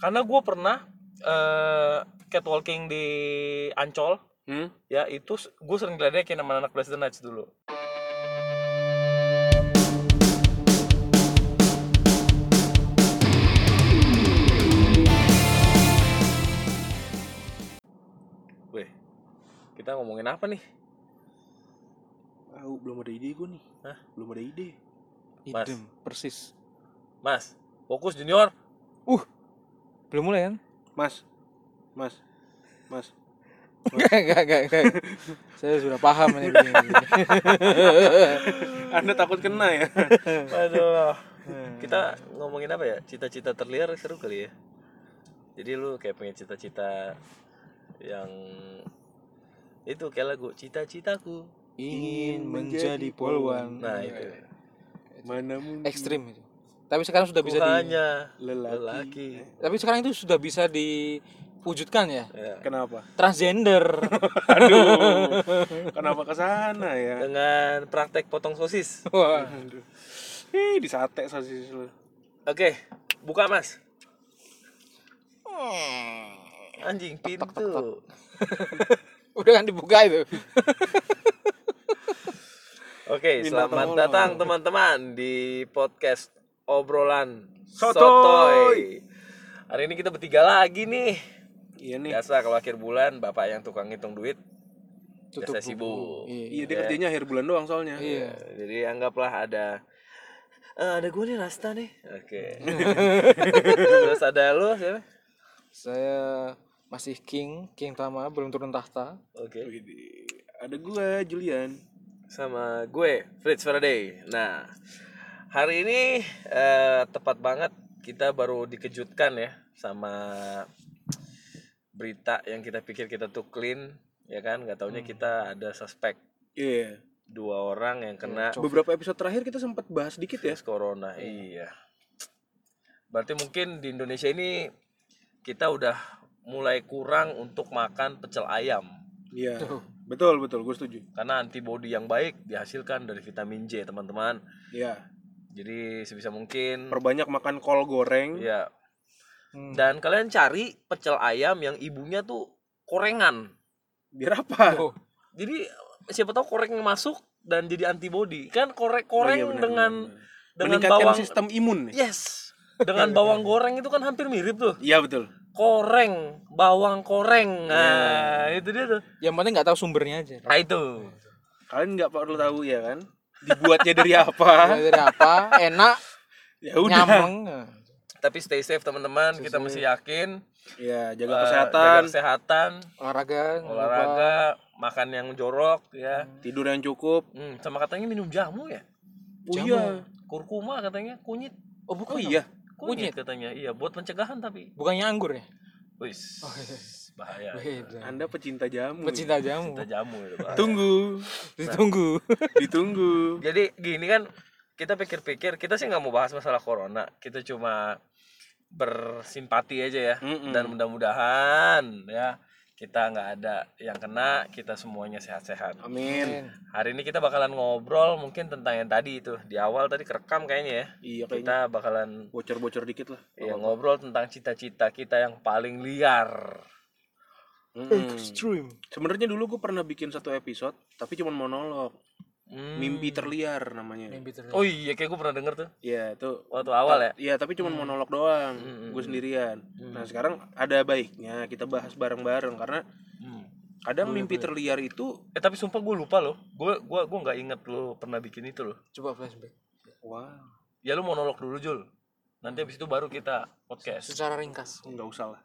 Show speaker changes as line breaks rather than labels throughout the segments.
karena gue pernah eh, catwalking di Ancol
Hmm?
ya itu gue sering diledekin sama anak Blast the Nights dulu Weh, kita ngomongin apa nih?
Tahu belum ada ide gue nih.
Hah?
Belum ada ide.
Mas.
Idem, persis.
Mas, fokus junior
Uh, belum mulai kan?
Mas. Mas. Mas.
Enggak, enggak, enggak, enggak. Saya sudah paham ini.
Anda takut kena ya?
Aduh. Hmm. Kita ngomongin apa ya? Cita-cita terliar seru kali ya. Jadi lu kayak pengen cita-cita yang itu kayak lagu cita-citaku.
Ingin menjadi polwan.
Nah, itu.
Manamun
Ekstrim itu. Tapi sekarang sudah bisa di
Bukannya
lelaki.
lelaki.
Tapi sekarang itu sudah bisa diwujudkan ya.
Ya.
Eh, Kenapa?
Transgender.
Aduh. Kenapa ke sana ya?
Dengan praktek potong sosis.
Wah.
Aduh. Ih, disate sosis lu.
Oke, buka Mas. Anjing pintu.
Udah kan dibuka itu.
Oke,
Minta
selamat
tolong.
datang teman-teman di podcast obrolan
Sotoy.
Hari ini kita bertiga lagi nih.
Iya nih.
Biasa kalau akhir bulan bapak yang tukang ngitung duit biasa
buku.
sibuk.
Iya.
Iya dia kerjanya akhir bulan doang soalnya.
Ya,
Iya.
Jadi anggaplah ada eh, ada gue nih Rasta nih. Oke. Terus ada lu siapa?
Saya masih king, king tama, belum turun tahta.
Oke.
Widih. Ada gua Julian.
Sama gue Fritz Faraday. Nah, hari ini eh, tepat banget kita baru dikejutkan ya sama berita yang kita pikir kita tuh clean ya kan nggak taunya kita ada suspek
Iya.
dua orang yang kena
Beberapa episode terakhir kita sempat bahas dikit ya.
Virus corona. Iya. Berarti mungkin di Indonesia ini kita udah mulai kurang untuk makan pecel ayam
Iya. Betul, betul, gue setuju.
karena antibodi yang baik dihasilkan dari vitamin J, teman-teman.
Iya.
Jadi sebisa mungkin
Perbanyak makan kol goreng.
ya.
Hmm.
Dan kalian cari pecel ayam yang ibunya tuh korengan.
Biar apa?
Oh,
Jadi siapa tahu koreng masuk dan jadi antibodi. Kan korek-koreng
Iya, benar,
dengan
benar, benar.
dengan
meningkatkan Iya,
bawang
sistem imun nih.
Yes. Dengan bawang goreng itu kan hampir mirip tuh.
Iya betul.
koreng bawang koreng
Iya,
nah itu dia tuh
yang penting nggak tahu sumbernya aja.
nah itu
Kalian nggak perlu tahu ya kan? Dibuatnya dari apa?
Dari apa? Enak,
ya udah.
nyameng.
tapi stay safe teman-teman kita mesti yakin
Ya
Eh,
jaga kesehatan,
jaga kesehatan
Olahraga, nggak lupa.
olahraga makan yang jorok ya
tidur yang cukup.
Hmm, sama katanya minum jamu ya
Oh
Jamu.
iya.
kurkuma katanya kunyit
Oh, bukan.
Oh iya.
kunyit
Kunyit.
katanya iya buat pencegahan tapi
Bukannya anggur ya?
wis bahaya
Beda.
Anda pecinta jamu.
Iya. Pecinta jamu. Hmm.
kita jamu itu bahaya.
Tunggu,
Ditunggu.
ditunggu.
jadi gini kan kita pikir-pikir kita sih nggak mau bahas masalah corona kita cuma bersimpati aja ya
Mm-mm.
dan mudah-mudahan ya kita nggak ada yang kena kita semuanya sehat-sehat
Amin.
hari ini kita bakalan ngobrol mungkin tentang yang tadi itu di awal tadi kerekam kayaknya ya
Iya kayaknya.
kita bakalan
Bocor-bocor dikit lah.
ya, ngobrol tentang cita-cita kita yang paling liar
Eh.
Mm-mm.
Extreme.
Sebenarnya dulu gue pernah bikin satu episode, tapi cuma monolog.
Hmm.
Mimpi terliar namanya.
Mimpi terlalu.
oh iya kayak gue pernah denger tuh
Iya itu
waktu awal ya
Iya tapi cuma monolog doang,
Hmm.
gue sendirian. Nah sekarang ada baiknya kita bahas bareng-bareng karena
Hmm.
kadang mimpi terliar itu,
eh tapi sumpah gue lupa loh gue gua gua nggak inget lo pernah bikin itu loh
Coba flashback.
wah
ya lu monolog dulu Jul nanti habis itu baru kita podcast
Secara ringkas.
nggak usah lah.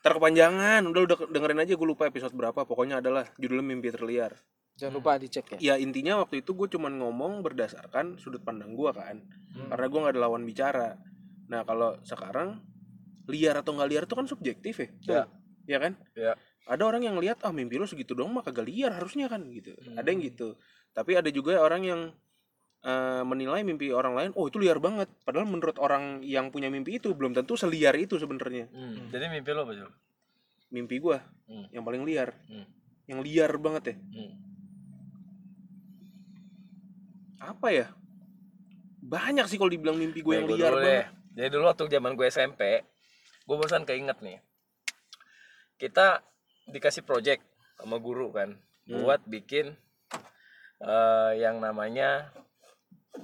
Ntar kepanjangan, udah udah dengerin aja gue lupa episode berapa. Pokoknya adalah judulnya mimpi terliar.
Jangan lupa dicek
Ya
ya.
intinya waktu itu gue cuman ngomong berdasarkan sudut pandang gue kan, karena gue nggak ada lawan bicara. Nah kalau sekarang liar atau nggak liar itu kan subjektif ya,
Ya.
ya kan?
ya
ada orang yang lihat ah mimpi lu segitu dong mah kagak liar harusnya kan gitu ada yang gitu tapi ada juga orang yang eh, menilai mimpi orang lain oh itu liar banget padahal menurut orang yang punya mimpi itu belum tentu seliar itu sebenarnya
Hmm. jadi mimpi lo apa Jul
mimpi gua
Hmm.
yang paling liar
Hmm.
yang liar banget ya
Hmm.
apa ya banyak sih kalau dibilang mimpi gue yang
Kayak gua
liar
dulu
banget
deh. jadi dulu waktu zaman gue SMP gue barusan keinget nih kita dikasih project sama guru kan
Hmm.
buat bikin eh, yang namanya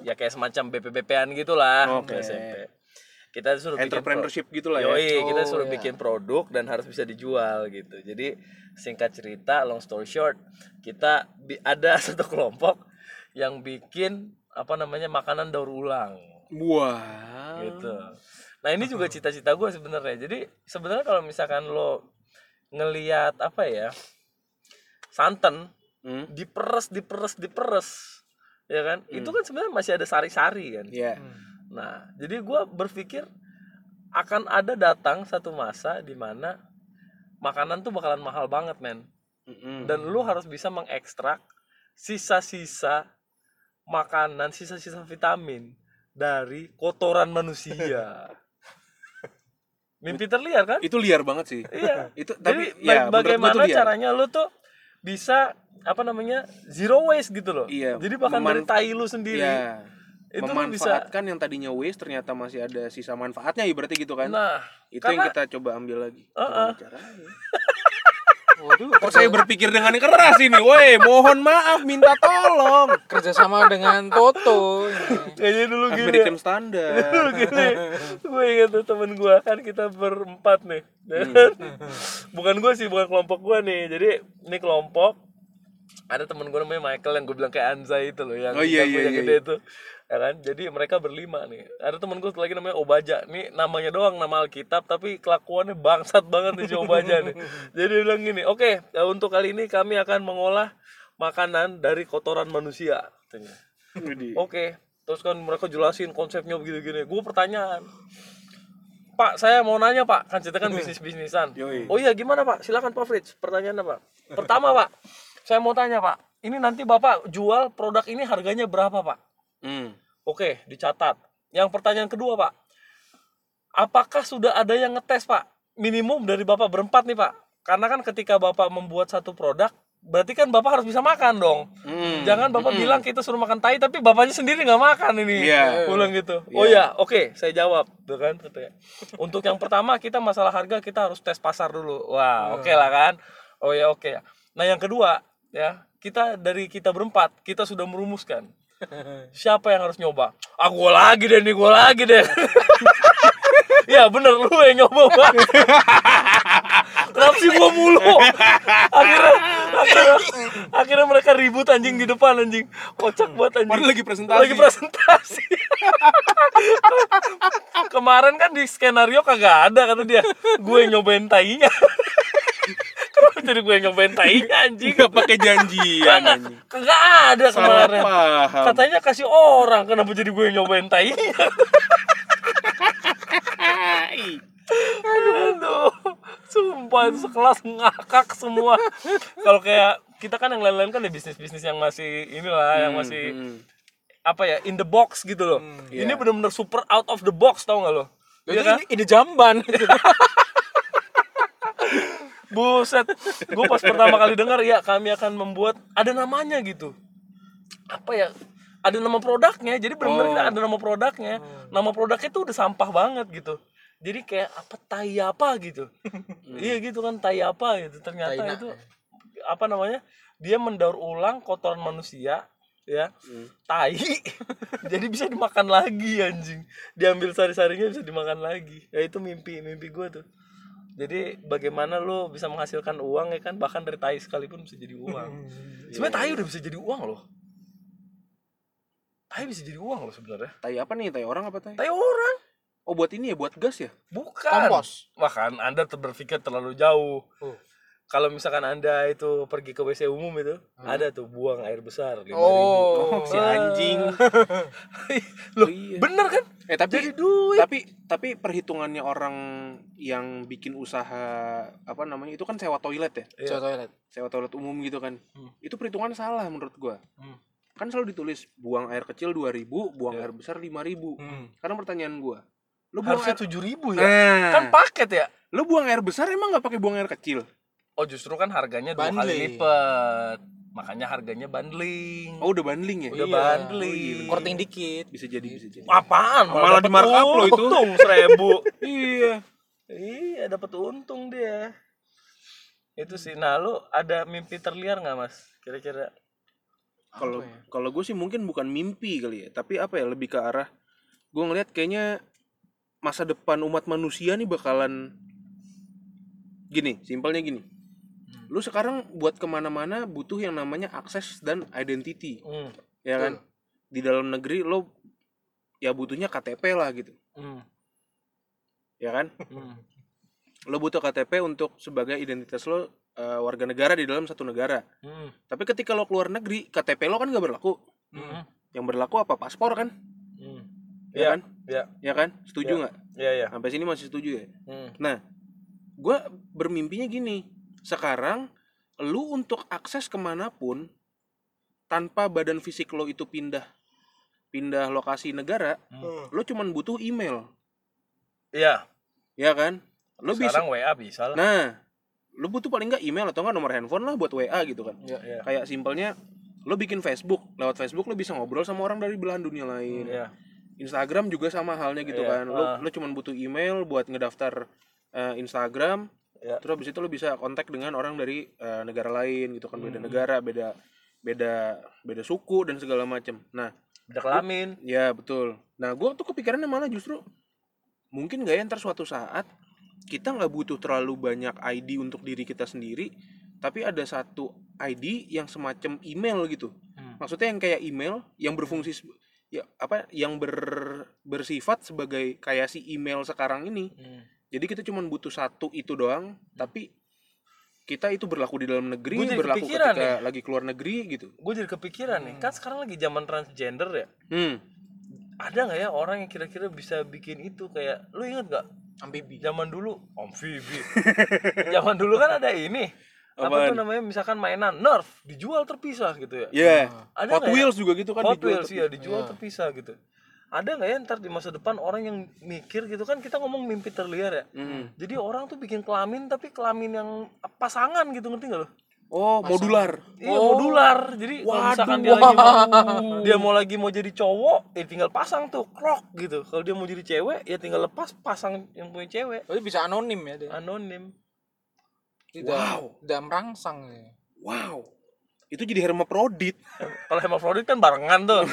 ya kayak semacam BPBP-an gitulah
Oke.
SMP kita disuruh bikin pro-
entrepreneurship gitulah ya
Yoi, kita
Oh,
suruh
iya.
bikin produk dan harus bisa dijual gitu. Jadi singkat cerita, long story short, kita bi- ada satu kelompok yang bikin apa namanya makanan daur ulang
wah
gitu. Nah ini juga cita-cita gue sebenarnya. Jadi sebenarnya kalau misalkan lo ngeliat apa ya santan
Hmm?
diperes, diperes, diperes, ya kan? Itu kan sebenarnya masih ada sari-sari kan.
ya
Hmm.
Nah, jadi gua berpikir akan ada datang satu masa di mana makanan tuh bakalan mahal banget, men.
Mm-mm.
Hmm. Dan lu harus bisa mengekstrak sisa-sisa makanan, sisa-sisa vitamin dari kotoran manusia. Mimpi terliar kan?
itu liar banget sih
Iya.
itu
Jadi
tapi
ba-
ya menurut gua
bagaimana
tuh liar.
caranya lu tuh bisa apa namanya zero waste gitu loh.
Iya,
Jadi bahkan dari
meman-
tai lu sendiri
Iya.
itu lu bisa.
memanfaatkan yang tadinya waste ternyata masih ada sisa manfaatnya ibaratnya gitu kan
Nah,
itu
karena-
yang kita coba ambil lagi
Uh-uh.
Gimana caranya?
Waduh,
kok saya berpikir dengan keras ini woi mohon maaf minta tolong
kerjasama dengan Toto.
kayaknya dulu gini. ya.
American standar
Dulu gini gue inget tuh temen gue kan kita berempat nih ya kan?
Hmm.
bukan gue sih bukan kelompok gue nih jadi ini kelompok ada temen gue namanya Michael yang gue bilang kayak Anza itu loh yang
Oh, iya,
yang
iya,
yang
iya,
gede itu ya kan jadi mereka berlima nih ada temen gue satu lagi namanya Obaja nih namanya doang nama Alkitab tapi kelakuannya bangsat banget nih si Obaja nih jadi dia bilang gini oke ya untuk kali ini kami akan mengolah makanan dari kotoran manusia katanya.
Widih.
Oke, terus kan mereka jelasin konsepnya begini-gini. Gue pertanyaan, Pak, saya mau nanya Pak, kan cerita kan bisnis-bisnisan.
Yoi.
Oh iya, gimana Pak? Silakan Pak Fritz, pertanyaannya Pak. Pertama Pak, saya mau tanya Pak, ini nanti Bapak jual produk ini harganya berapa Pak?
Hmm.
Oke, dicatat. Yang pertanyaan kedua Pak, apakah sudah ada yang ngetes Pak? Minimum dari Bapak berempat nih Pak. Karena kan ketika Bapak membuat satu produk, berarti kan Bapak harus bisa makan dong.
Hmm.
Jangan bapak bilang kita suruh makan tai tapi bapaknya sendiri nggak makan ini.
Iya.
Pulang gitu. Oh ya, oke, saya jawab, tuh kan katanya. Untuk yang pertama kita masalah harga kita harus tes pasar dulu.
Hmm.
Wah, oke lah kan. Oh ya, oke. Nah, yang kedua ya, kita dari kita berempat, kita sudah merumuskan siapa yang harus nyoba. Ah, gua lagi deh nih, gua lagi deh. ya bener lu yang nyoba Bang. Kenapa sih gua mulu? Akhirnya, akhirnya, akhirnya mereka ribut anjing di depan anjing. Kocak banget anjing.
Padahal lagi presentasi.
Lagi presentasi. Kemarin kan di skenario kagak ada kata dia. Gue yang nyobain tainya. Kenapa jadi gue yang nyobain tainya anjing?
Nggak pakai janjian
Kagak
Iya, anjing.
kagak ada
Salah
kemarin.
paham.
Katanya kasih orang, kenapa jadi gue yang nyobain tainya? Aduh, sumpah itu sekelas ngakak semua. Kalau kayak kita kan yang lain-lain kan ya bisnis-bisnis yang masih inilah, yang masih
Hmm.
apa ya in the box gitu loh. Ini
iya.
bener-bener super out of the box tau gak lo?
Jadi
kan?
ini, ini jamban.
Buset, gue pas pertama kali dengar ya kami akan membuat ada namanya gitu. Apa ya? Ada nama produknya, jadi benar-benar kita ada nama produknya. Nama produknya tuh udah sampah banget gitu. Jadi kayak apa tai apa gitu. iya gitu kan tai apa gitu. Ternyata
Taina.
itu apa namanya? Dia mendaur ulang kotoran manusia ya tai jadi bisa dimakan lagi anjing diambil sari-sarinya bisa dimakan lagi ya itu mimpi mimpi gue tuh jadi bagaimana lo bisa menghasilkan uang ya kan bahkan dari tai sekalipun bisa jadi uang. sebenarnya tai udah bisa jadi uang loh. Tai bisa jadi uang loh sebenarnya.
Tai apa nih? Tai orang apa tai?
Tai orang
Oh buat ini ya, buat gas ya?
bukan.
Kompos.
Wah kan Anda ter- berpikir terlalu jauh.
Oh.
Kalau misalkan Anda itu pergi ke WC umum itu, ada tuh buang air besar 5.000.
Oh.
Si anjing.
loh,
Iya.
bener kan?
Eh tapi
Jadi duit.
tapi tapi perhitungannya orang yang bikin usaha apa namanya itu kan sewa toilet ya?
Coba toilet.
Sewa toilet umum gitu kan. Itu perhitungan salah menurut gua.
Hmm.
Kan selalu ditulis buang air kecil 2000, buang air besar 5000. Karena pertanyaan gua, lu buang
Harusnya
air
tujuh ribu ya.
Nah,
Kan paket ya.
lu buang air besar emang nggak pakai buang air kecil?
Oh justru kan harganya dua kali
Bundling.
lipat. Makanya harganya bundling.
Oh Iya. udah bundling ya?
Udah
Iya.
bundling.
Korting dikit.
Bisa jadi, bisa jadi.
Oh, Apaan?
Malah
dapet
di markup lo itu.
Untung seribu.
Iya.
Iya. iya dapat untung dia itu sih nah lu ada mimpi terliar nggak mas kira-kira
kalau
ya?
kalau gue sih mungkin bukan mimpi kali ya tapi apa ya lebih ke arah gue ngelihat kayaknya masa depan umat manusia nih bakalan gini simpelnya gini lu sekarang buat kemana-mana butuh yang namanya akses dan identity
hmm.
ya kan di dalam negeri lo ya butuhnya KTP lah gitu
Hmm.
ya kan
Hmm.
lo butuh KTP untuk sebagai identitas lo eh, warga negara di dalam satu negara
Hmm.
tapi ketika lo keluar negeri KTP lo kan nggak berlaku
Hmm.
yang berlaku apa paspor kan
Hmm.
ya
Iya,
kan
iya.
ya kan setuju
Iya.
nggak
ya ya
sampai sini masih setuju ya
hmm.
gue bermimpinya gini sekarang lu untuk akses kemanapun tanpa badan fisik lo itu pindah pindah lokasi negara
Hmm.
lo cuman butuh email
Iya,
ya kan lo bisa
sekarang WA bisa lah
nah lo butuh paling nggak email atau nggak nomor handphone lah buat wa gitu kan
Iya.
Iya.
kayak simpelnya lo bikin Facebook lewat Facebook lo bisa ngobrol sama orang dari belahan dunia lain
Iya.
Instagram juga sama halnya gitu
Iya,
kan. Lu
ah.
lu cuman butuh email buat ngedaftar eh, Instagram.
Iya.
Terus habis itu lu bisa kontak dengan orang dari eh, negara lain gitu kan, beda
Hmm.
negara, beda beda beda suku dan segala macem Nah,
Udah kelamin
ya betul. Nah, gua tuh kepikirannya malah justru mungkin nggak ya ntar suatu saat kita nggak butuh terlalu banyak ID untuk diri kita sendiri, tapi ada satu ID yang semacam email gitu
Hmm.
maksudnya yang kayak email yang berfungsi se- ya apa yang ber- bersifat sebagai kayak si email sekarang ini
Hmm.
jadi kita cuma butuh satu itu doang tapi kita itu berlaku di dalam negeri
Gua jadi
berlaku
kepikiran
ketika lagi keluar negeri gitu
Gue jadi kepikiran nih, kan sekarang lagi zaman transgender ya.
hmm
Ada nggak ya orang yang kira-kira bisa bikin itu kayak lu inget nggak
ambibi
zaman dulu amfibi zaman dulu kan ada ini apa
Apaan?
tuh namanya misalkan mainan nerf dijual terpisah gitu ya
ya
Ada
Hot
nggak ya?
Wheels juga gitu kan
Hot
dijual
Wheels
tapi-
ya dijual
Iya.
terpisah gitu ada nggak ya ntar di masa depan orang yang mikir gitu kan kita ngomong mimpi terliar ya
Mm.
jadi orang tuh bikin kelamin tapi kelamin yang pasangan gitu ngerti nggak lo?
oh modular
Iya modular. Jadi kalau misalkan dia lagi mau, dia mau lagi mau jadi cowok, ya tinggal pasang tuh krok gitu. Kalau dia mau jadi cewek, ya tinggal lepas pasang yang punya cewek.
jadi bisa anonim ya dia
Anonim.
tidak
Wow.
tidak merangsang ya
wow itu jadi hermaprodit
Kalau hermafrodit kan barengan tuh,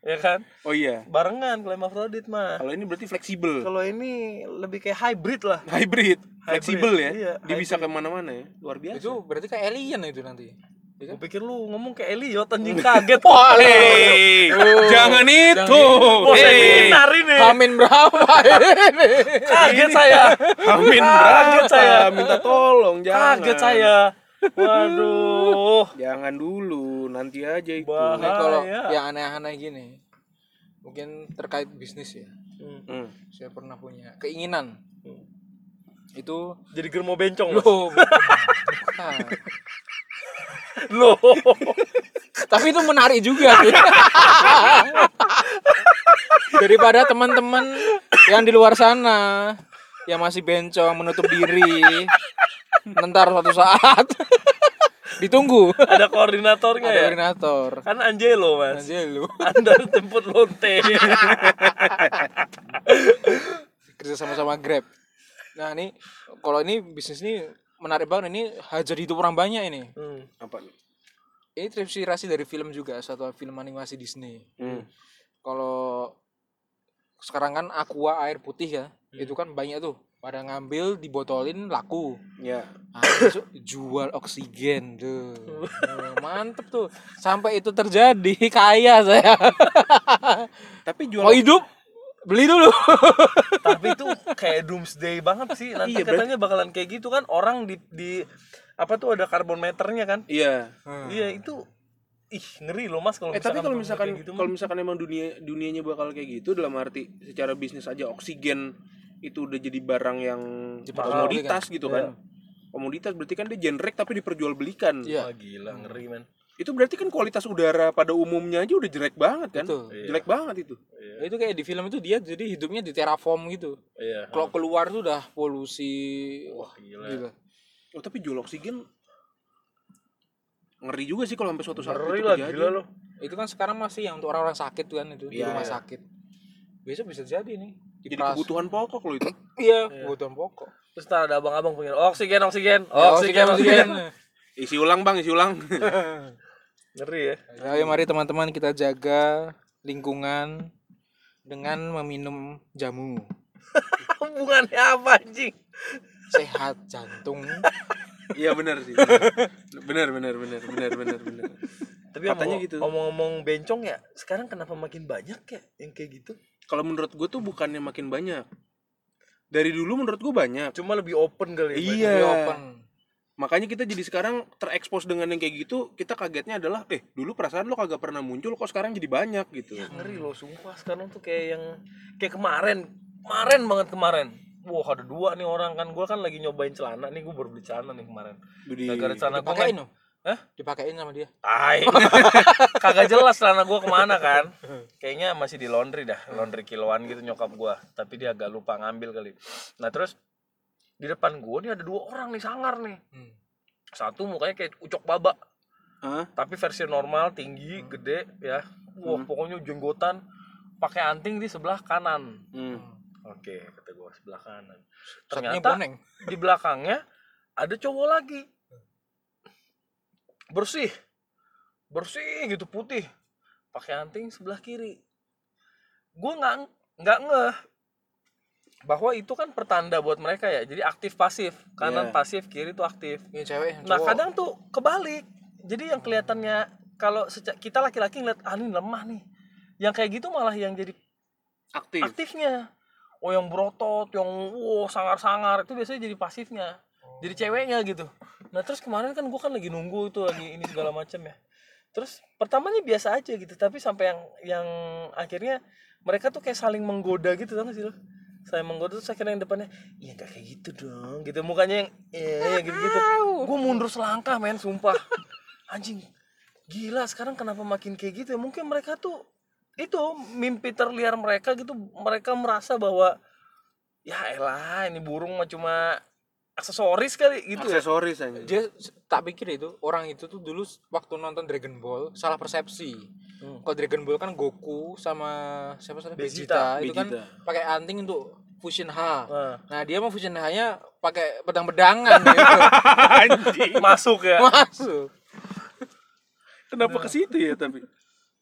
ya kan?
oh iya
Barengan kalau hermafrodit mah.
kalau ini berarti fleksibel
Kalau ini lebih kayak hybrid lah.
hybrid fleksibel ya
Iya,
dia bisa kemana-mana ya luar biasa
itu berarti kayak alien itu nanti Iya
Eh.
kan?
Gue pikir lu ngomong kayak Elliot anjing kaget.
Hei, Oh. jangan gitu. itu.
Bos
Hei,
seminar ini.
Amin berapa ini?
Eh. Kaget saya.
Amin
Kaget
berapa?
saya.
Minta tolong jangan.
Kaget saya. Waduh.
Jangan dulu, nanti aja itu.
Bah.
Nah, kalau
iya.
Bahaya.
yang aneh-aneh gini, mungkin terkait bisnis ya.
Hmm.
Saya pernah punya keinginan. Itu
Jadi germo bencong loh.
loh. bukan.
Loh.
Tapi itu menarik juga sih. Daripada teman-teman yang di luar sana yang masih bencong menutup diri ntar suatu saat ditunggu
Ada koordinatornya
ada
ya.
koordinator
Kan Angelo, Mas.
aja lu
Anda tempur lonte.
kerja sama-sama Grab. Nah ini kalau ini bisnis ini menarik banget ini hajar hidup orang banyak ini.
Hmm.
Apa nih?
Ini terinspirasi dari film juga satu film animasi Disney.
Hmm.
Kalau sekarang kan aqua air putih ya
Hmm.
itu kan banyak tuh pada ngambil dibotolin laku
Ya.
Nah, besok jual oksigen tuh Oh, mantep tuh sampai itu terjadi kaya saya
Tapi jual
mau hidup beli dulu
Tapi itu kayak doomsday banget sih. Nanti
Iya, berarti-
katanya bakalan kayak gitu kan orang di di apa tuh ada karbon meternya kan?
Iya.
Iya, itu ih ngeri loh Mas kalau
Eh tapi kalau misalkan
kayak gitu, Mas.
kalau misalkan emang dunia dunianya bakal kayak gitu dalam arti secara bisnis aja oksigen itu udah jadi barang yang
Diperjualbelikan.
komoditas gitu kan. Komoditas berarti kan dia generik tapi diperjualbelikan.
Wah,
Iya.
Ah, gila ngeri men.
Itu berarti kan kualitas udara pada umumnya aja udah jelek banget kan?
Betul.
Iya.
Jelek banget itu.
itu kayak di film itu dia jadi hidupnya di terraform gitu
Iya.
kalau
Ah.
keluar tuh udah polusi
Wah, gila.
gitu.
Oh tapi jual oksigen ngeri juga sih kalau sampai suatu saat
Ngeri
itu
lah
terjadi.
gila loh.
itu kan sekarang masih yang untuk orang-orang sakit tuh kan itu di
Iya,
rumah
iya.
sakit besok bisa jadi nih
jadi kebutuhan pokok loh itu
Iya, kebutuhan pokok.
Terus ntar ada abang-abang pengen oksigen, oksigen,
Ya,
oksigen, oksigen.
oksigen.
isi ulang bang isi ulang
Ngeri ya.
kan, Ayo mari teman-teman kita jaga lingkungan dengan meminum jamu
Hubungannya apa anjing?
sehat jantung.
iya benar sih benar benar benar benar benar benar
Tapi
Katanya
omong-
gitu.
Omong-omong bencong ya, sekarang kenapa makin banyak ya yang kayak gitu?
kalau menurut gue tuh bukannya makin banyak dari dulu menurut gue banyak
Cuma lebih open kali ya.
Iya.
Lebih open.
makanya kita jadi sekarang terekspos dengan yang kayak gitu kita kagetnya adalah eh dulu perasaan lo kagak pernah muncul kok sekarang jadi banyak gitu
Bang. Ngeri loh, sumpah sekarang tuh kayak yang kayak kemarin, kemarin banget kemarin. Wah ada dua nih orang kan, gua kan lagi nyobain celana nih, gua baru beli celana nih kemarin.
Jadi
Gara-gara celana gua
Dipakein
kan,
loh.
Hah?
Dipakein sama dia.
tai. Kagak jelas celana gua kemana kan. Kayaknya masih di laundry dah, laundry kiloan gitu nyokap gua. Tapi dia agak lupa ngambil kali. Nah terus di depan gua nih ada dua orang nih sangar nih.
Hmm.
Satu mukanya kayak ucok babak,
Hah?
tapi versi normal, tinggi, gede ya. Wah pokoknya jenggotan, pakai anting di sebelah kanan.
Hmm.
Oke, kata gue sebelah kanan.
Satunya
Ternyata
boneng.
di belakangnya ada cowok lagi. Bersih. Bersih gitu putih. Pakai anting sebelah kiri. Gue nggak nggak ngeh bahwa itu kan pertanda buat mereka ya. Jadi aktif pasif, kanan
Iya.
pasif, kiri itu aktif.
Ini Iya, cewek. yang
Nah,
cowok.
kadang tuh kebalik. Jadi yang kelihatannya kalau seca- kita laki-laki ngeliat ah ini lemah nih. Yang kayak gitu malah yang jadi
aktif
aktifnya oh yang berotot yang wow sangar-sangar itu biasanya jadi pasifnya jadi ceweknya gitu nah terus kemarin kan gue kan lagi nunggu itu lagi ini segala macam ya terus pertamanya biasa aja gitu tapi sampai yang yang akhirnya mereka tuh kayak saling menggoda gitu tau gak sih lo saya menggoda terus akhirnya yang depannya iya gak kayak gitu dong gitu mukanya yang iya gitu gitu gue mundur selangkah men sumpah anjing gila sekarang kenapa makin kayak gitu ya mungkin mereka tuh itu mimpi terliar mereka gitu mereka merasa bahwa ya elah ini burung mah cuma aksesoris kali gitu ya
aksesoris aja
dia s- tak pikir itu orang itu tuh dulu s- waktu nonton Dragon Ball salah persepsi.
Hmm.
Kalau Dragon Ball kan Goku sama siapa satu
Vegeta,
Vegeta, itu kan
Vegeta.
pakai anting untuk fusion H.
Nah,
Nah, dia mau fusion H-nya pakai pedang-pedangan gitu.
masuk ya
Masuk.
kenapa ke situ ya tapi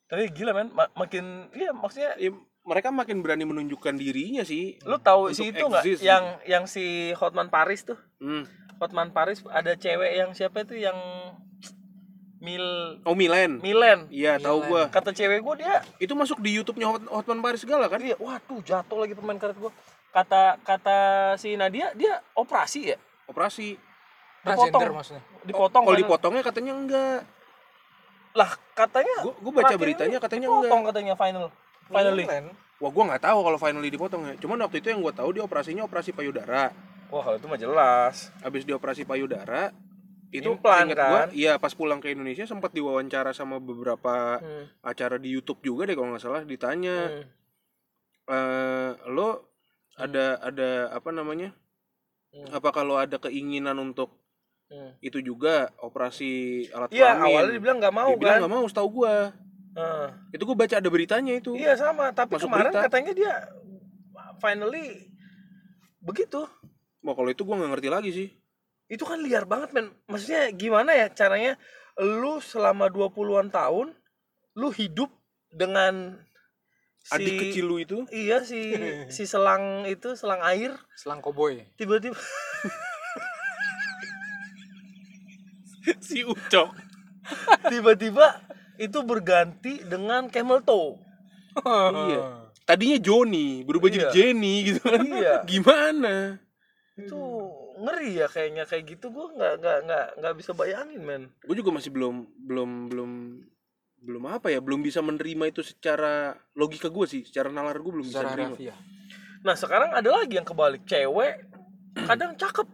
tapi gila men ma- makin iya maksudnya
Ya, mereka makin berani menunjukkan dirinya sih
lu tahu
Untuk
si itu nggak
exist.
yang yang si Hotman Paris tuh
hmm.
Hotman Paris ada cewek yang siapa itu yang Mil
oh Milan
Milen
iya tahu gua
kata cewek gue dia
itu masuk di YouTube-nya Hot- Hotman Paris segala kan
Iya, waduh jatuh lagi pemain karet gua. Kata kata si Nadia dia operasi ya?
operasi
Transgender maksudnya.
Dipotong.
kalau
kan?
dipotongnya katanya enggak
Lah, katanya
gua, gua baca
terakhir
beritanya
ini
katanya
dipotong
enggak
katanya final. Finally.
wah gua nggak tahu kalau finally dipotong ya cuman waktu itu yang gua tahu dia operasinya operasi payudara
Wah, kalau itu mah jelas.
habis dioperasi payudara itu
Implan,
ingat
kan?
gua iya pas pulang ke Indonesia sempat diwawancara sama beberapa acara di YouTube juga deh kalau nggak salah ditanya
Hmm.
eh lo ada ada apa namanya
Hmm.
apa kalau ada keinginan untuk
Hmm.
itu juga operasi alat
Iya,
kelamin?
awalnya dibilang nggak mau
Dibilang
kan.
nggak mau setahu gua
Heeh.
itu gua baca ada beritanya itu
Iya, sama, tapi
Masuk
kemarin
berita.
katanya dia finally begitu.
Wah kalau itu gua nggak ngerti lagi sih
Itu kan liar banget, men. Maksudnya gimana ya caranya lu selama 20-an tahun lu hidup dengan
adik
si-
kecil lu itu
Iya si si selang itu selang air
Selang koboi.
tiba-tiba
si ucok
tiba-tiba itu berganti dengan camel toe.
iya tadinya Joni berubah jadi
Iya.
Jenny gitu kan
Iya.
gimana
Itu ngeri ya kayaknya kayak gitu gua nggak nggak nggak nggak bisa bayangin men.
gue juga masih belum belum belum belum apa ya belum bisa menerima itu secara logika gue sih secara nalar gue belum
Secara
bisa menerima
harfiah.
Nah sekarang ada lagi yang kebalik cewek kadang cakep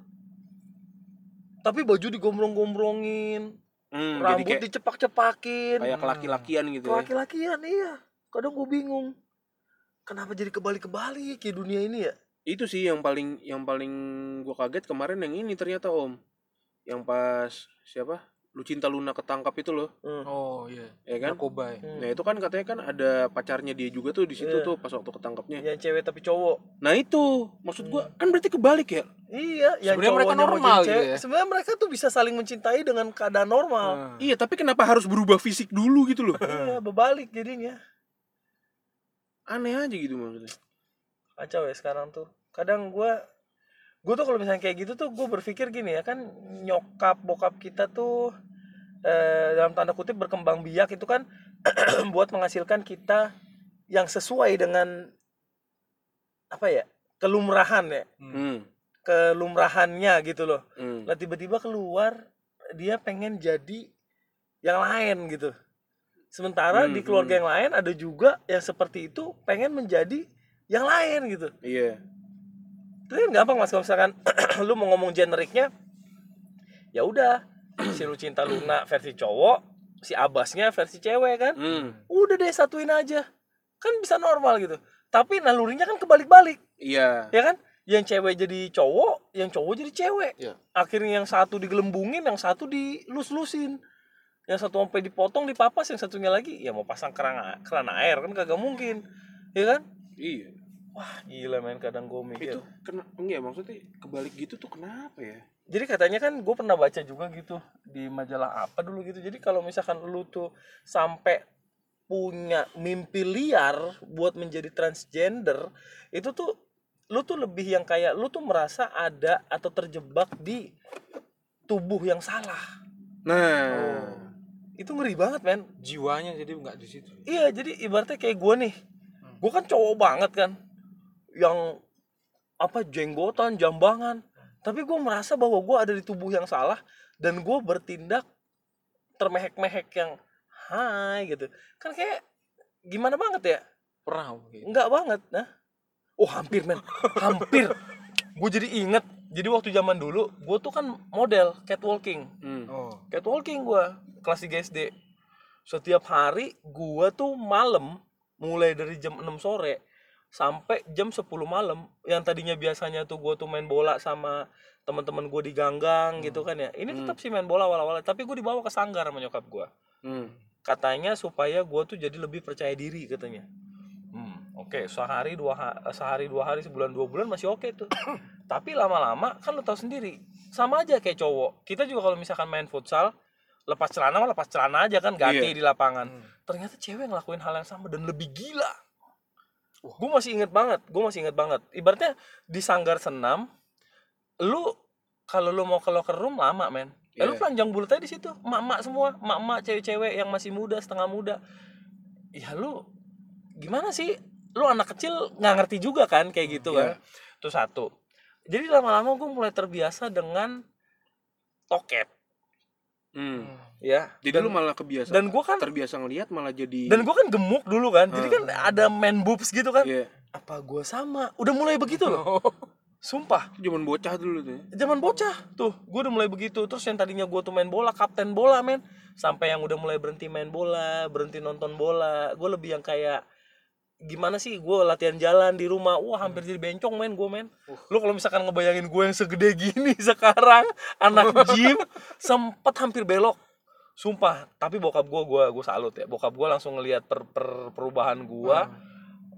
tapi baju digombrong-gombrongin,
Hmm, jadi
rambut
kayak
dicepak-cepakin,
kayak kelaki-lakian gitu ya.
laki-lakian iya. Kadang gue bingung kenapa jadi kebalik-kebalik ya dunia ini ya.
itu sih yang paling yang paling gue kaget kemarin yang ini ternyata om yang pas siapa lu cinta Luna ketangkap itu loh
Hmm.
Oh iya.
ya kan
Narkoba. ya?
nah itu kan katanya kan ada pacarnya dia juga tuh di situ tuh pas waktu ketangkapnya
yang cewek tapi cowok
nah itu maksud gua kan berarti kebalik ya
iya yang
Sebenarnya mereka
cowoknya mau
normal
jadi cewek.
gitu ya?
sebenarnya mereka tuh bisa saling mencintai dengan keadaan normal
Nah.
iya tapi kenapa harus berubah fisik dulu gitu loh
iya berbalik jadinya
aneh aja gitu maksudnya
kacau ya sekarang tuh kadang gua gue tuh kalau misalnya kayak gitu tuh gue berpikir gini ya kan nyokap bokap kita tuh eh, dalam tanda kutip berkembang biak itu kan buat menghasilkan kita yang sesuai dengan apa ya kelumrahan ya
hmm.
kelumrahannya gitu loh
hmm.
lah tiba-tiba keluar dia pengen jadi yang lain gitu sementara
Hmm,
di keluarga yang lain ada juga yang seperti itu pengen menjadi yang lain gitu
iya
itu kan gampang mas kalau misalkan lu mau ngomong generiknya ya udah si lu cinta Luna versi cowok si Abasnya versi cewek kan
hmm.
udah deh satuin aja kan bisa normal gitu tapi nalurinya kan kebalik-balik
iya
ya kan yang cewek jadi cowok yang cowok jadi cewek
Iya.
akhirnya yang satu digelembungin yang satu dilus-lusin yang satu sampai dipotong dipapas yang satunya lagi ya mau pasang kerang kerana air kan kagak mungkin ya kan
iya
wah gila men kadang gue mikir
itu kena enggak maksudnya kebalik gitu tuh kenapa ya
jadi katanya kan gue pernah baca juga gitu di majalah apa dulu gitu jadi kalau misalkan lu tuh sampai punya mimpi liar buat menjadi transgender itu tuh lu tuh lebih yang kayak lu tuh merasa ada atau terjebak di tubuh yang salah
nah
itu ngeri banget men
Jiwanya jadi nggak di situ.
iya jadi ibaratnya kayak gue nih gue kan cowok banget kan yang apa jenggotan jambangan tapi gue merasa bahwa gue ada di tubuh yang salah dan gue bertindak termehek-mehek yang hai gitu kan kayak gimana banget ya
Pernah gitu.
enggak banget nah oh hampir men hampir gue jadi inget jadi waktu zaman dulu gue tuh kan model catwalking
Hmm.
Oh.
catwalking gue kelas 3 SD setiap hari gue tuh malam mulai dari jam 6 sore sampai jam 10 malam yang tadinya biasanya tuh gue tuh main bola sama teman-teman gue di ganggang gitu kan ya ini tetap sih main bola awal-awal tapi gue dibawa ke sanggar sama nyokap gue
Hmm.
katanya supaya gue tuh jadi lebih percaya diri katanya hmm, oke sehari dua ha- eh, sehari dua hari sebulan dua bulan masih oke tuh tapi lama-lama kan lo tau sendiri sama aja kayak cowok kita juga kalau misalkan main futsal lepas celana mah lepas celana aja kan ganti
Iya.
di lapangan ternyata cewek ngelakuin hal yang sama dan lebih gila gue masih inget banget gue masih inget banget ibaratnya di sanggar senam lu kalau lu mau ke locker room lama men ya lu
Iya.
panjang bulutnya di situ emak-emak semua emak-emak cewek-cewek yang masih muda setengah muda ya lu gimana sih lu anak kecil nggak ngerti juga kan kayak gitu
Iya.
kan itu satu jadi lama-lama gue mulai terbiasa dengan toket
Hmm.
ya
Jadi
Dan-
lu malah kebiasaan.
dan gua kan-
terbiasa ngelihat malah jadi
dan gue kan gemuk dulu kan jadi kan ada man boobs gitu kan
Hmm. Iya.
apa gue sama udah mulai begitu loh sumpah
Itu zaman bocah dulu tuh. ya.
zaman bocah tuh gue udah mulai begitu terus yang tadinya gue tuh main bola kapten bola men sampai yang udah mulai berhenti main bola berhenti nonton bola gue lebih yang kayak gimana sih gue latihan jalan di rumah wah hampir jadi bencong men gue men lu kalau misalkan ngebayangin gue yang segede gini sekarang anak gym sempet hampir belok sumpah tapi bokap gue gue gue salut ya bokap gue langsung ngelihat per, per- perubahan gue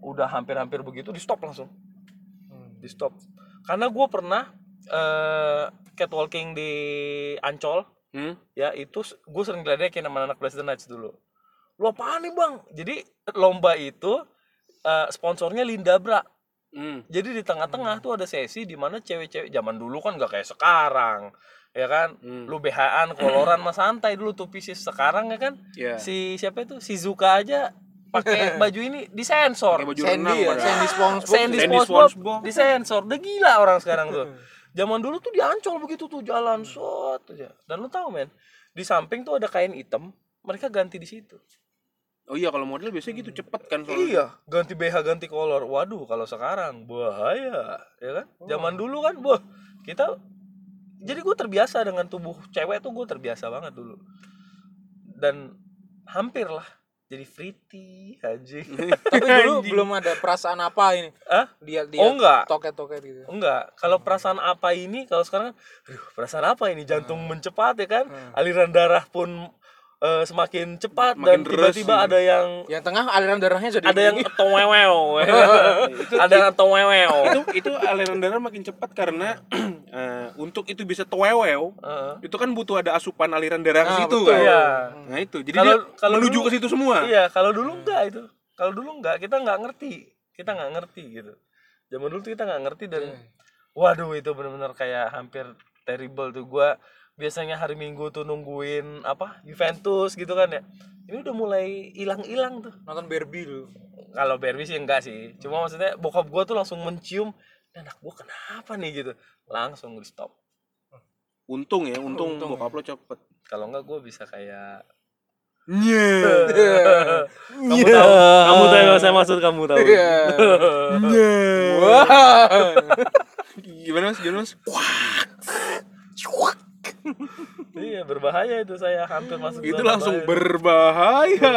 udah hampir-hampir begitu di stop langsung di stop karena gue pernah eh, catwalking di Ancol
Hmm?
ya itu gue sering ngeledekin sama anak Blast the Nights dulu lu apaan nih bang jadi lomba itu eh, sponsornya Lindabra
Hmm.
jadi di tengah-tengah tuh ada sesi di mana cewek-cewek zaman dulu kan nggak kayak sekarang ya kan
Hmm.
lu BH-an koloran mas santai dulu tuh pisces sekarang ya kan
Iya.
si siapa itu si Zuka aja pakai baju ini disensor
Pakai baju renang
Sandy ya,
padahal.
Sandy SpongeBob.
Sandy
Sandy
SpongeBob,
SpongeBob.
disensor udah gila orang sekarang tuh zaman dulu tuh diancol begitu tuh jalan
Hmm.
shot aja dan lu tahu men di samping tuh ada kain hitam mereka ganti di situ
Oh iya kalau model biasanya gitu cepet kan soalnya.
iya ganti BH ganti kolor waduh kalau sekarang bahaya ya kan zaman dulu kan boh kita jadi gue terbiasa dengan tubuh cewek tuh gue terbiasa banget dulu dan hampir lah jadi pretty anjing
Tapi dulu
Anjing.
belum ada perasaan apa ini.
Hah?
Dia dia
oh enggak
toket-toket gitu.
enggak kalau perasaan apa ini kalau sekarang kan, aduh perasaan apa ini jantung mencepat ya kan aliran darah pun eh, semakin iya. cepat
Makin
dan
deres,
tiba-tiba
gitu.
ada yang
Yang tengah aliran darahnya jadi
ada yang towewew kan? ada yang towewew
itu itu aliran darah makin cepat karena eh, untuk itu bisa tewewew
Heeh.
itu kan butuh ada asupan aliran darah ke
Ah,
situ
betul.
kan
Iya.
nah itu jadi
Kalau-
dia
kalau
menuju
dulu-
ke situ semua
Iya, kalau dulu enggak itu. Kalau dulu enggak, kita enggak ngerti. Kita enggak ngerti gitu. Zaman dulu tuh kita enggak ngerti dan waduh itu bener-bener kayak hampir terrible tuh gua biasanya hari Minggu tuh nungguin apa Juventus gitu kan ya. Ini udah mulai hilang-hilang tuh.
nonton Barbie dulu.
Kalau Barbie sih enggak sih. Cuma maksudnya bokap gua tuh langsung mencium "Ini anak gua kenapa nih gitu. Langsung di stop.
untung ya untung,
Untung
bokap lo cepet
Kalau enggak gua bisa kayak
nye
kamu tahu kamu tahu yang saya maksud kamu tahu.
Iya.
nye
Wah.
gimana mas gimana mas
Iya berbahaya itu saya hampir masuk
itu
zona
langsung
bahaya.
berbahaya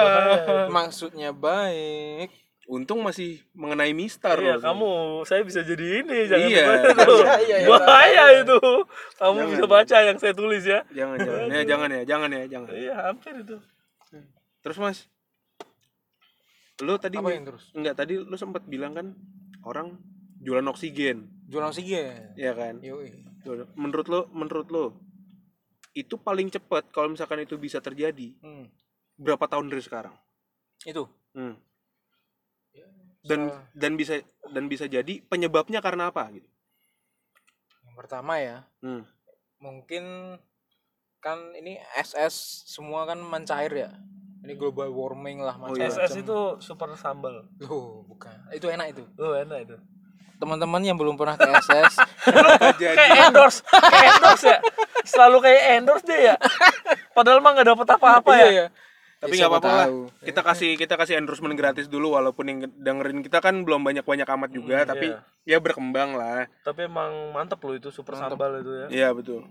Maksudnya baik.
untung masih mengenai mistar
Iya
lo.
kamu, saya bisa jadi ini jangan
Iya.
lupa itu.
Iya, iya, iya.
bahaya itu. Kamu bisa baca yang saya tulis ya.
jangan jangan ya jangan ya jangan ya jangan
Iya hampir itu.
terus mas lo tadi
Apa yang terus?
enggak tadi lo sempat bilang kan orang jualan oksigen
Jualan oksigen.
ya kan
Yoi.
Jualan- menurut lo menurut lo itu paling cepat kalau misalkan itu bisa terjadi
Hmm.
berapa tahun dari sekarang
Itu.
Hmm. dan
Soal-
dan bisa dan bisa jadi penyebabnya karena apa gitu
Yang pertama ya,
Hmm.
mungkin kan ini SS semua kan mencair ya. Ini global warming lah
Oh, iya.
SS
macam-macam.
itu super sambal.
Loh, bukan. Itu enak itu.
Lu enak itu.
Teman-teman yang belum pernah ke SS,
jadi
Kayak endorse, kayak endorse ya. Selalu kayak endorse deh ya. Padahal mah nggak dapet apa-apa ya.
Iya,
tapi
Ya,
nggak
siapa
apa-apa lah
tahu.
kita kasih kita kasih endorsement gratis dulu walaupun yang dengerin kita kan belum banyak banyak amat juga
Hmm,
tapi ya
iya.
berkembang lah
Tapi emang mantep loh itu super sambal itu ya.
iya betul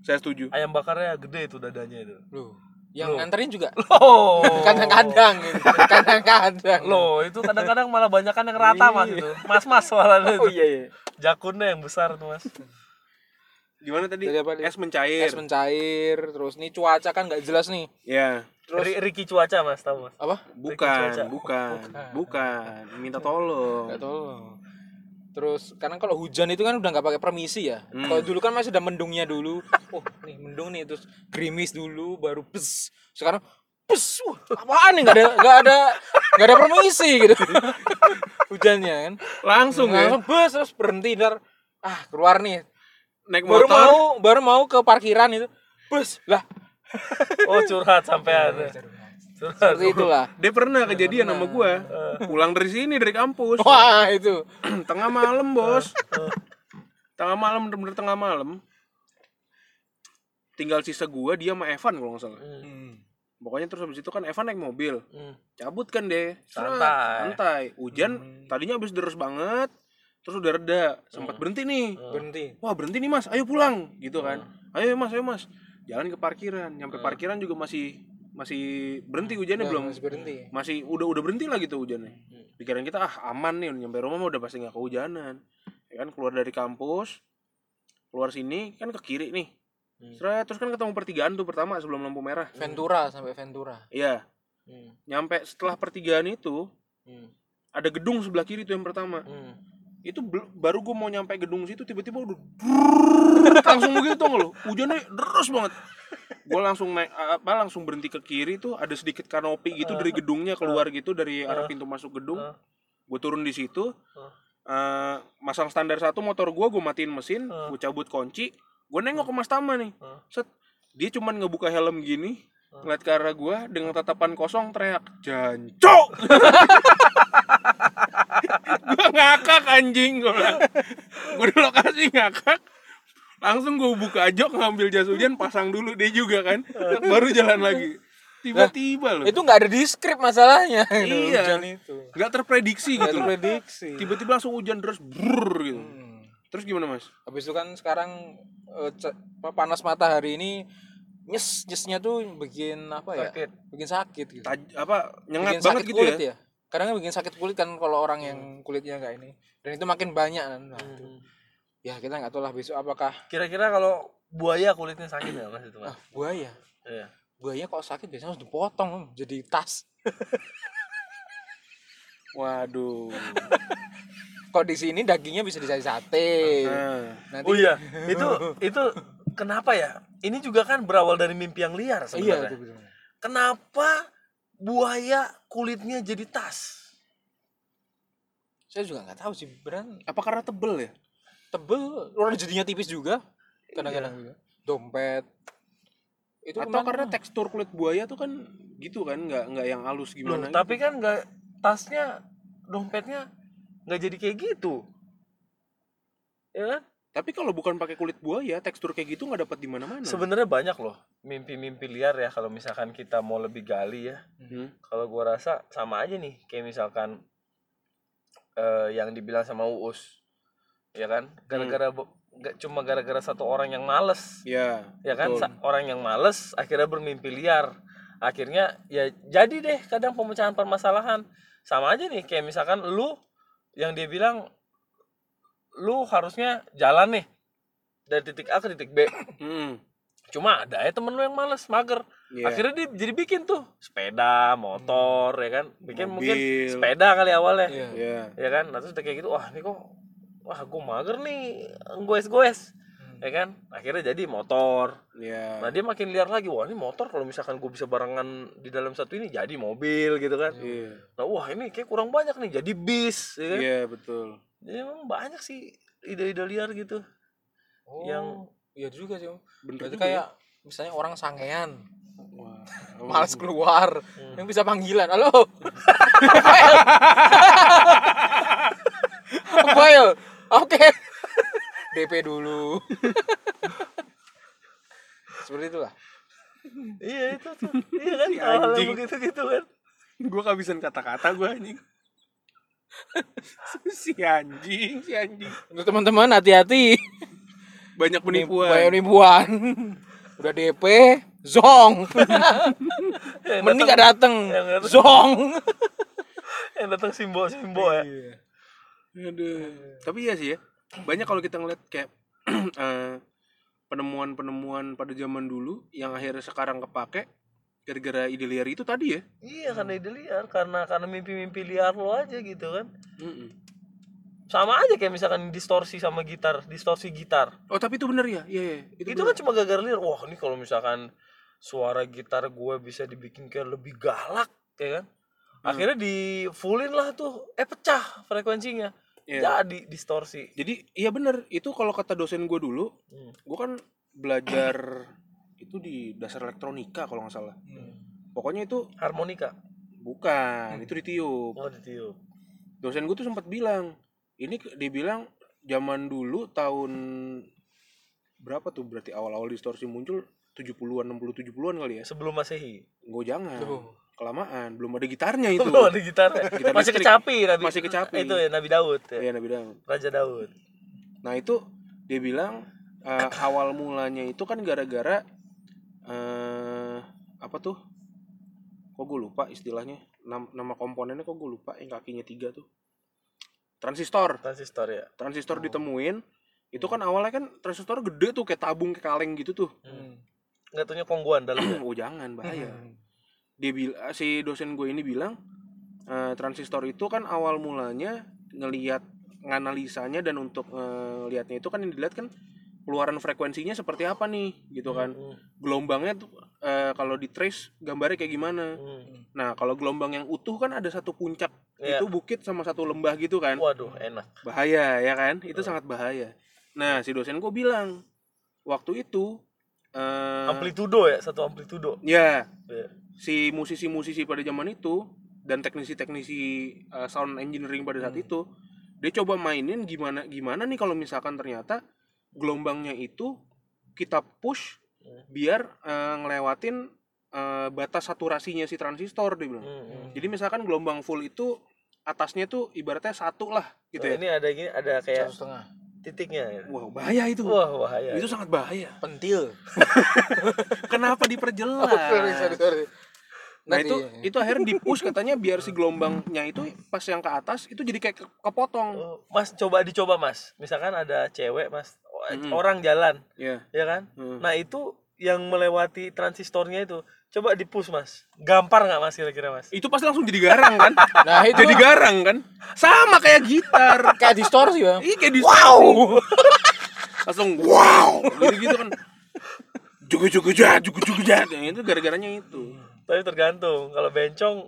saya setuju
Ayam bakarnya gede itu dadanya itu.
Loh, yang nganterin juga
Loh.
Oh. kadang-kadang gitu. Kadang-kadang.
Loh, itu kadang-kadang malah banyak yang rata mas itu. Mas-mas soalnya itu.
iya.
Jakunnya yang besar tuh mas.
gimana tadi
Jadi apa, Li?
es mencair
Es mencair, terus nih cuaca kan nggak jelas nih.
ya
Ri- Ricky cuaca mas, tahu mas?
Apa?
cuaca.
bukan bukan bukan minta tolong
Nggak tolong. Terus karena kalau hujan itu kan udah nggak pakai permisi ya. Kalau dulu kan masih ada mendungnya dulu. Oh, nih mendung nih terus gerimis dulu baru pes. Sekarang pes. Wah, apaan nih nggak ada nggak ada nggak ada permisi gitu. Hujannya kan.
langsung ya
Langsung bes terus berhenti ntar ah keluar nih.
naik motor
Baru mau baru mau ke parkiran itu. Bes lah.
Oh curhat sampai
Iya,
ada. Curhat.
Seperti itulah.
dia pernah
Nah,
kejadian sama gua
Eh.
pulang dari sini dari kampus
Wah, itu.
tengah malam bos tengah malam bener-bener tengah malam tinggal sisa gua dia sama Evan kalau nggak salah
Hmm.
pokoknya terus habis itu kan Evan naik mobil
Hmm.
cabut kan deh Seret,
Santai. Hmm.
santai hujan tadinya habis deres banget terus udah reda sempat berhenti nih
Hmm.
Berhenti.
wah berhenti nih mas ayo pulang gitu kan ayo mas ayo mas jalan ke parkiran nyampe
Hmm.
parkiran juga masih masih berhenti hujannya belum
Harus berhenti.
masih udah udah berhenti lah gitu hujannya pikiran kita ah aman nih nyampe rumah mah udah pasti nggak kehujanan ya kan keluar dari kampus keluar sini kan ke kiri nih Seret, terus kan ketemu pertigaan tuh pertama sebelum lampu merah
Ventura sampai Ventura.
iya
Hmm.
nyampe setelah pertigaan itu
Hmm.
ada gedung sebelah kiri tuh yang pertama
Hmm.
itu bel- baru gue mau nyampe gedung situ tiba-tiba udah drrrr, langsung begitu tuh lo hujannya deres banget gue langsung naik apa langsung berhenti ke kiri tuh ada sedikit kanopi gitu dari gedungnya keluar gitu dari arah pintu
Oh,
masuk gedung gue turun di situ eh, masang standar satu motor gue gue matiin mesin gue cabut kunci gue nengok ke mas Tama nih set dia cuman ngebuka helm gini ngeliat ke arah gue dengan tatapan kosong teriak jancok gue ngakak anjing gue gue di lokasi ngakak langsung gue buka jok ngambil jas hujan pasang dulu dia juga kan baru jalan lagi tiba-tiba loh
Nah, itu nggak ada di skrip masalahnya gitu.
Iya.
hujan itu
nggak terprediksi
nggak
gitu loh.
prediksi
tiba-tiba langsung hujan terus brrrr gitu
Hmm.
terus gimana mas
habis itu kan sekarang eh, ce- apa, panas matahari ini nyes nyesnya tuh bikin apa ya
Sakit.
bikin sakit gitu
Taj- apa nyengat
bikin
banget
sakit
gitu
kulit
ya.
ya, kadang kan bikin sakit kulit kan kalau orang yang kulitnya kayak ini dan itu makin banyak kan Nah, itu. ya kita nggak tahu lah besok apakah
Kira-kira kalau buaya kulitnya sakit nggak mas itu mas?
ah, buaya
Iya.
buaya kalau sakit biasanya harus dipotong jadi tas waduh kok di sini dagingnya bisa dijadi sate
Nah,
nanti
Oh iya, itu itu kenapa ya? Ini juga kan berawal dari mimpi yang liar
iya
sebenarnya.
itu betul.
Kenapa buaya kulitnya jadi tas?
saya juga nggak tahu sih beran
apa karena tebel ya?
tebel orang jadinya tipis juga kadang-kadang juga dompet itu
Iya. Atau
kemarin-
karena tekstur kulit buaya tuh kan gitu kan nggak nggak yang halus
Loh,
gimana? gitu.
tapi kan nggak tasnya, dompetnya nggak jadi kayak gitu. Ya kan?
Tapi kalau bukan pakai kulit buaya, tekstur kayak gitu nggak dapat di mana-mana.
Sebenarnya banyak loh mimpi-mimpi liar ya kalau misalkan kita mau lebih gali ya.
Hmm.
Kalau gua rasa sama aja nih kayak misalkan eh, yang dibilang sama Uus. Ya kan? Gara-gara bo- nggak cuma gara-gara satu orang yang males.
Ya.
Iya
ya kan
betul.
sa- orang yang males akhirnya bermimpi liar akhirnya ya jadi deh kadang pemecahan permasalahan sama aja nih kayak misalkan lu yang dia bilang lu harusnya jalan nih dari titik A ke titik B
Hmm.
cuma ada ya temen lu yang males mager
Iya. Hmm.
akhirnya dia jadi bikin tuh sepeda motor ya kan bikin mungkin
Mobil.
sepeda kali awalnya
Iya.
Ya.
ya kan nah, terus udah kayak gitu wah ini kok wah gue mager nih goes-goes
Hmm.
ya kan akhirnya jadi motor
Ya.
Nah dia makin liar lagi, wah ini motor kalau misalkan gue bisa barengan di dalam satu ini jadi mobil gitu kan.
Iya.
Nah wah ini kayak kurang banyak nih, jadi bis. Ya kan?
Iya, betul.
Jadi memang banyak sih ide-ide liar gitu.
Oh,
Yang-
iya juga sih Om.
Bener
berarti
juga ya.
kayak misalnya orang sangean
Wah. iya.
males keluar
Hmm.
yang bisa panggilan halo File oke DP dulu seperti itulah
iya itu tuh, iya kan hal
Hmm. anjing.
begitu gitu kan.
gue kehabisan kata-kata gue anjing. si anjing, si anjing.
untuk teman-teman hati-hati
Banyak
Bayar
penipuan.
ribuan udah DP zong
Yang datang-
mending gak dateng
Yang datang-
zong
Yang datang simbo-simbo ya.
Iya. Aduh. Tapi iya sih ya. Banyak kalau kita ngeliat kayak eh, penemuan-penemuan pada zaman dulu yang akhirnya sekarang kepake gara-gara ide liar itu tadi ya.
Iya karena ide liar, karena karena mimpi-mimpi liar lo aja gitu kan.
Mm-mm.
Sama aja kayak misalkan distorsi sama gitar, distorsi gitar.
Oh tapi itu bener ya, iya, iya. itu,
itu kan cuma gara-gara lirik wah ini kalau misalkan suara gitar gue bisa dibikin kayak lebih galak ya kan
Hmm.
akhirnya di fullin lah tuh eh pecah frekuensinya
Iya.
jadi distorsi
Jadi iya bener itu kalau kata dosen gue dulu,
Hmm.
gue kan belajar itu di dasar elektronika kalau nggak salah. Pokoknya itu
harmonika
bukan, itu ditiup.
oh ditiup
Dosen gue tuh sempat bilang, ini ke- dibilang zaman dulu tahun berapa tuh berarti awal-awal distorsi muncul 70-an 60 70-an kali ya.
sebelum masehi
Gue jangan.
Tuh.
Kelamaan, belum ada gitarnya itu.
belum ada gitar
Gitar
masih
listrik.
kecapi nabi
Masih kecapi.
itu ya nabi daud ya.
Iya, Nabi Daud.
raja daud
Nah itu dia bilang eh, awal mulanya itu kan gara-gara eh apa tuh? Kok gue lupa istilahnya nama, nama komponennya kok gue lupa yang kakinya tiga tuh transistor
transistor ya
transistor ditemuin itu kan awalnya kan transistor gede tuh kayak tabung kayak kaleng gitu tuh
Hmm.
nggak taunya kongguan ya. dalamnya
oh jangan bahaya dia bila, si dosen gue ini bilang eh, transistor itu kan awal mulanya ngelihat nganalisanya dan untuk ngelihatnya itu kan yang dilihat kan keluaran frekuensinya seperti apa nih gitu kan
Hmm,
gelombangnya tuh eh, kalau di trace gambarnya kayak gimana
hmm.
nah kalau gelombang yang utuh kan ada satu puncak
Iya.
itu bukit sama satu lembah gitu kan
waduh enak
bahaya ya kan itu sangat bahaya nah si dosen gue bilang waktu itu eh,
amplitudo ya satu amplitudo
ya
Iya.
si musisi-musisi pada zaman itu dan teknisi-teknisi uh, sound engineering pada
Hmm.
saat itu dia coba mainin gimana gimana nih kalau misalkan ternyata gelombangnya itu kita push
Hmm.
biar uh, ngelewatin uh, batas saturasinya si transistor dia bilang.
Hmm, hmm.
Jadi misalkan gelombang full itu atasnya tuh ibaratnya satu lah gitu
Nah,
ya.
ini ada gini ada kayak
satu setengah
titiknya ya.
Wah, bahaya itu.
wah bahaya
Itu sangat bahaya.
pentil
Kenapa
sorry sorry
diperjelas?
sorry
Nah
Nanti,
itu
ya.
itu akhirnya di-push katanya biar si gelombangnya itu pas yang ke atas itu jadi kayak ke- kepotong.
Oh, mas coba dicoba mas misalkan ada cewek mas o-
Mm-mm.
orang jalan
Ya.
ya kan
Hmm.
nah itu yang melewati transistornya itu coba dipus mas gampar nggak mas kira-kira mas
Itu pasti langsung jadi garang kan?
nah itu
jadi garang kan? Sama kayak gitar.
kayak distorsi bang
Iya kayak di wow. Langsung wow. Gitu-gitu kan. Juga juga jah, juga juga jah. Yang itu gara-garanya itu.
tapi tergantung kalau bencong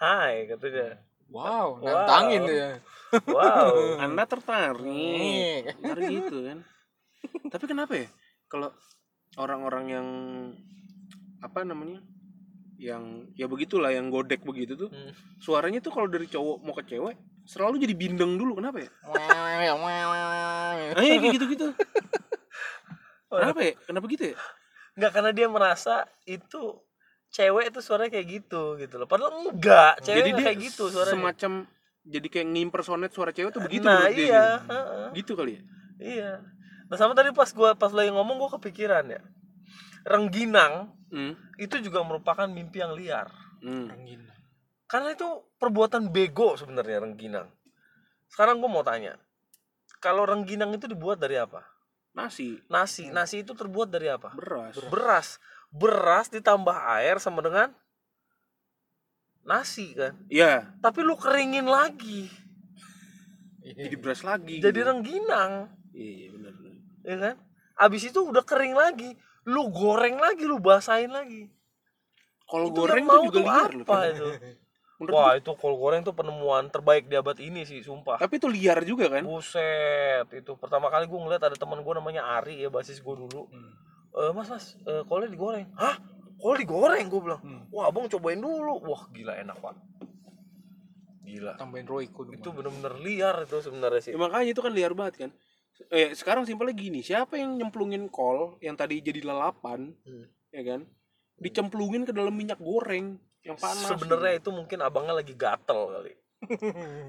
hai katanya
wow nantangin
Wow.
tuh ya
wow
Anda tertarik.
Nih.
Ntar gitu kan. Tapi kenapa ya? Kalau orang-orang yang apa namanya? Yang ya begitulah yang godek begitu tuh.
Hmm.
Suaranya tuh kalau dari cowok mau ke cewek selalu jadi bindeng dulu kenapa ya?
Meow, meow, meow.
Ah,
Eh
iya,
kayak gitu-gitu. Kenapa ya? Kenapa gitu ya?
nggak karena dia merasa itu cewek itu suaranya kayak gitu gitu loh padahal enggak cewek
Jadi
nggak
dia
kayak gitu suaranya
semacam jadi kayak ngimpersonate suara cewek tuh begitu
nah
menurut dia
iya
gitu.
heeh.
Gitu kali ya?
iya nah sama tadi pas gua pas lagi ngomong gua kepikiran ya rengginang
Hmm.
itu juga merupakan mimpi yang liar
Hmm.
karena itu perbuatan bego sebenarnya rengginang sekarang gua mau tanya kalau rengginang itu dibuat dari apa
Nasi,
nasi nasi itu terbuat dari apa
beras.
beras beras ditambah air sama dengan nasi kan
Iya,
tapi lu keringin lagi
jadi beras lagi.
Iya. jadi
gitu.
rengginang
Iya, iya benar benar.
ya kan abis itu udah kering lagi lu goreng lagi lu basahin lagi
Kalau
Itu yang
goreng tuh
mau
juga
tuh
liar loh.
apa
Ken.
itu
Menurut
wah
gua-
itu kol goreng tuh penemuan terbaik di abad ini sih sumpah
tapi itu liar juga kan?
buset itu pertama kali gue ngeliat ada teman gue namanya Ari ya basis gue dulu Eh mas mas eh, kolnya digoreng hah kol digoreng gue bilang wah abang cobain dulu wah gila enak pak gila
tambahin Royco dong,
itu
Bang.
bener-bener liar itu sebenarnya sih
Ya, makanya itu kan liar banget kan. Eh, sekarang simpelnya gini, siapa yang nyemplungin kol yang tadi jadi lalapan,
Hmm.
ya kan? Dicemplungin ke dalam minyak goreng yang panas.
sebenarnya itu mungkin abangnya lagi gatel kali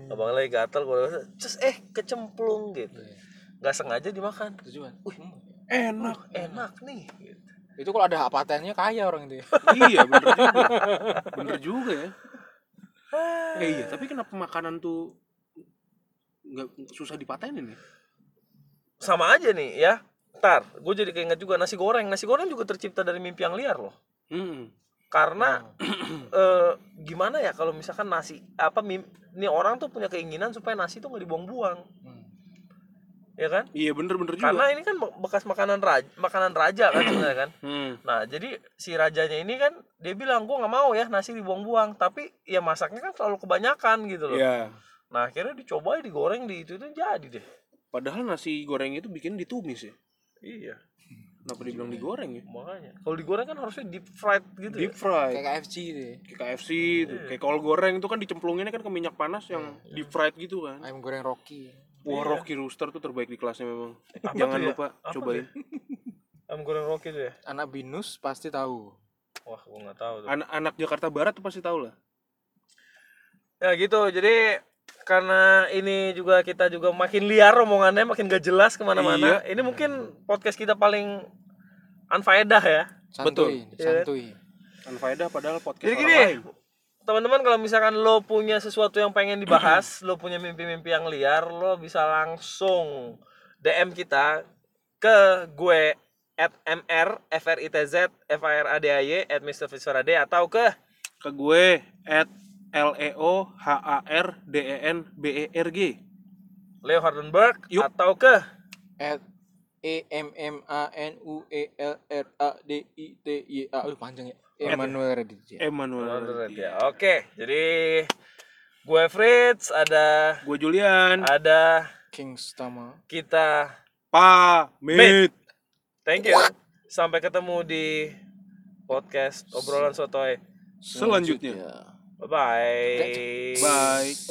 abangnya lagi gatel gue cus eh kecemplung gitu
Iya.
nggak sengaja dimakan
Setuju, Bang. Hmm.
enak.
enak nih gitu.
itu kalau ada patennya kaya orang itu ya.
iya bener juga bener juga ya eh, iya tapi kenapa makanan tuh nggak susah dipatenin ya
sama aja nih ya ntar gue jadi keinget juga nasi goreng nasi goreng juga tercipta dari mimpi yang liar loh
hmm.
karena eh, gimana ya kalau misalkan nasi apa mim, ini orang tuh punya keinginan supaya nasi tuh nggak dibuang-buang
Hmm.
ya kan
iya bener bener juga
karena ini kan be- bekas makanan raja makanan raja kan sebenarnya kan
hmm.
Nah, jadi si rajanya ini kan dia bilang gua nggak mau ya nasi dibuang-buang, tapi ya masaknya kan selalu kebanyakan gitu loh.
ya
Nah, akhirnya dicoba digoreng di itu itu jadi deh.
padahal nasi goreng itu bikin ditumis ya
Iya,
kenapa dibilang digoreng ya
makanya. Kalau digoreng kan harusnya deep fried gitu.
deep
ya.
fried
kayak KFC itu ya.
kayak KFC itu kayak kol goreng itu kan dicemplunginnya kan ke minyak panas yang deep fried gitu kan
ayam goreng Rocky
Wah, Rocky Rooster tuh terbaik di kelasnya memang.
Apa
Jangan
tuh ya?
lupa
Apa
cobain.
Ayam goreng Rocky tuh ya.
anak binus pasti tahu
Wah, gua nggak tahu tuh.
Anak-anak Jakarta Barat tuh pasti tahu lah.
Ya gitu. Jadi karena ini juga kita juga makin liar omongannya, makin gak jelas kemana-mana. Ini mungkin podcast kita paling unfaedah ya.
santuy
Betul.
santuy
Anfaedah padahal podcast
Jadi
orang
gini,
lain.
teman-teman kalau misalkan lo punya sesuatu yang pengen dibahas, lo punya mimpi-mimpi yang liar, lo bisa langsung DM kita ke gue at mr fritz firady at Mr. Fiswarade atau ke
ke gue at l e o h a r d e n b e r g
Leo Hardenberg
Yup.
atau ke
at E M M A N U E L R A D I T Y A aduh panjang ya Emmanuel Raditya
Emmanuel
Ya, Oke, jadi gue Fritz ada
gue Julian
ada
King Stama
kita.
pamit
Thank you. Sampai ketemu di podcast obrolan sotoy.
selanjutnya
Bye bye.
bye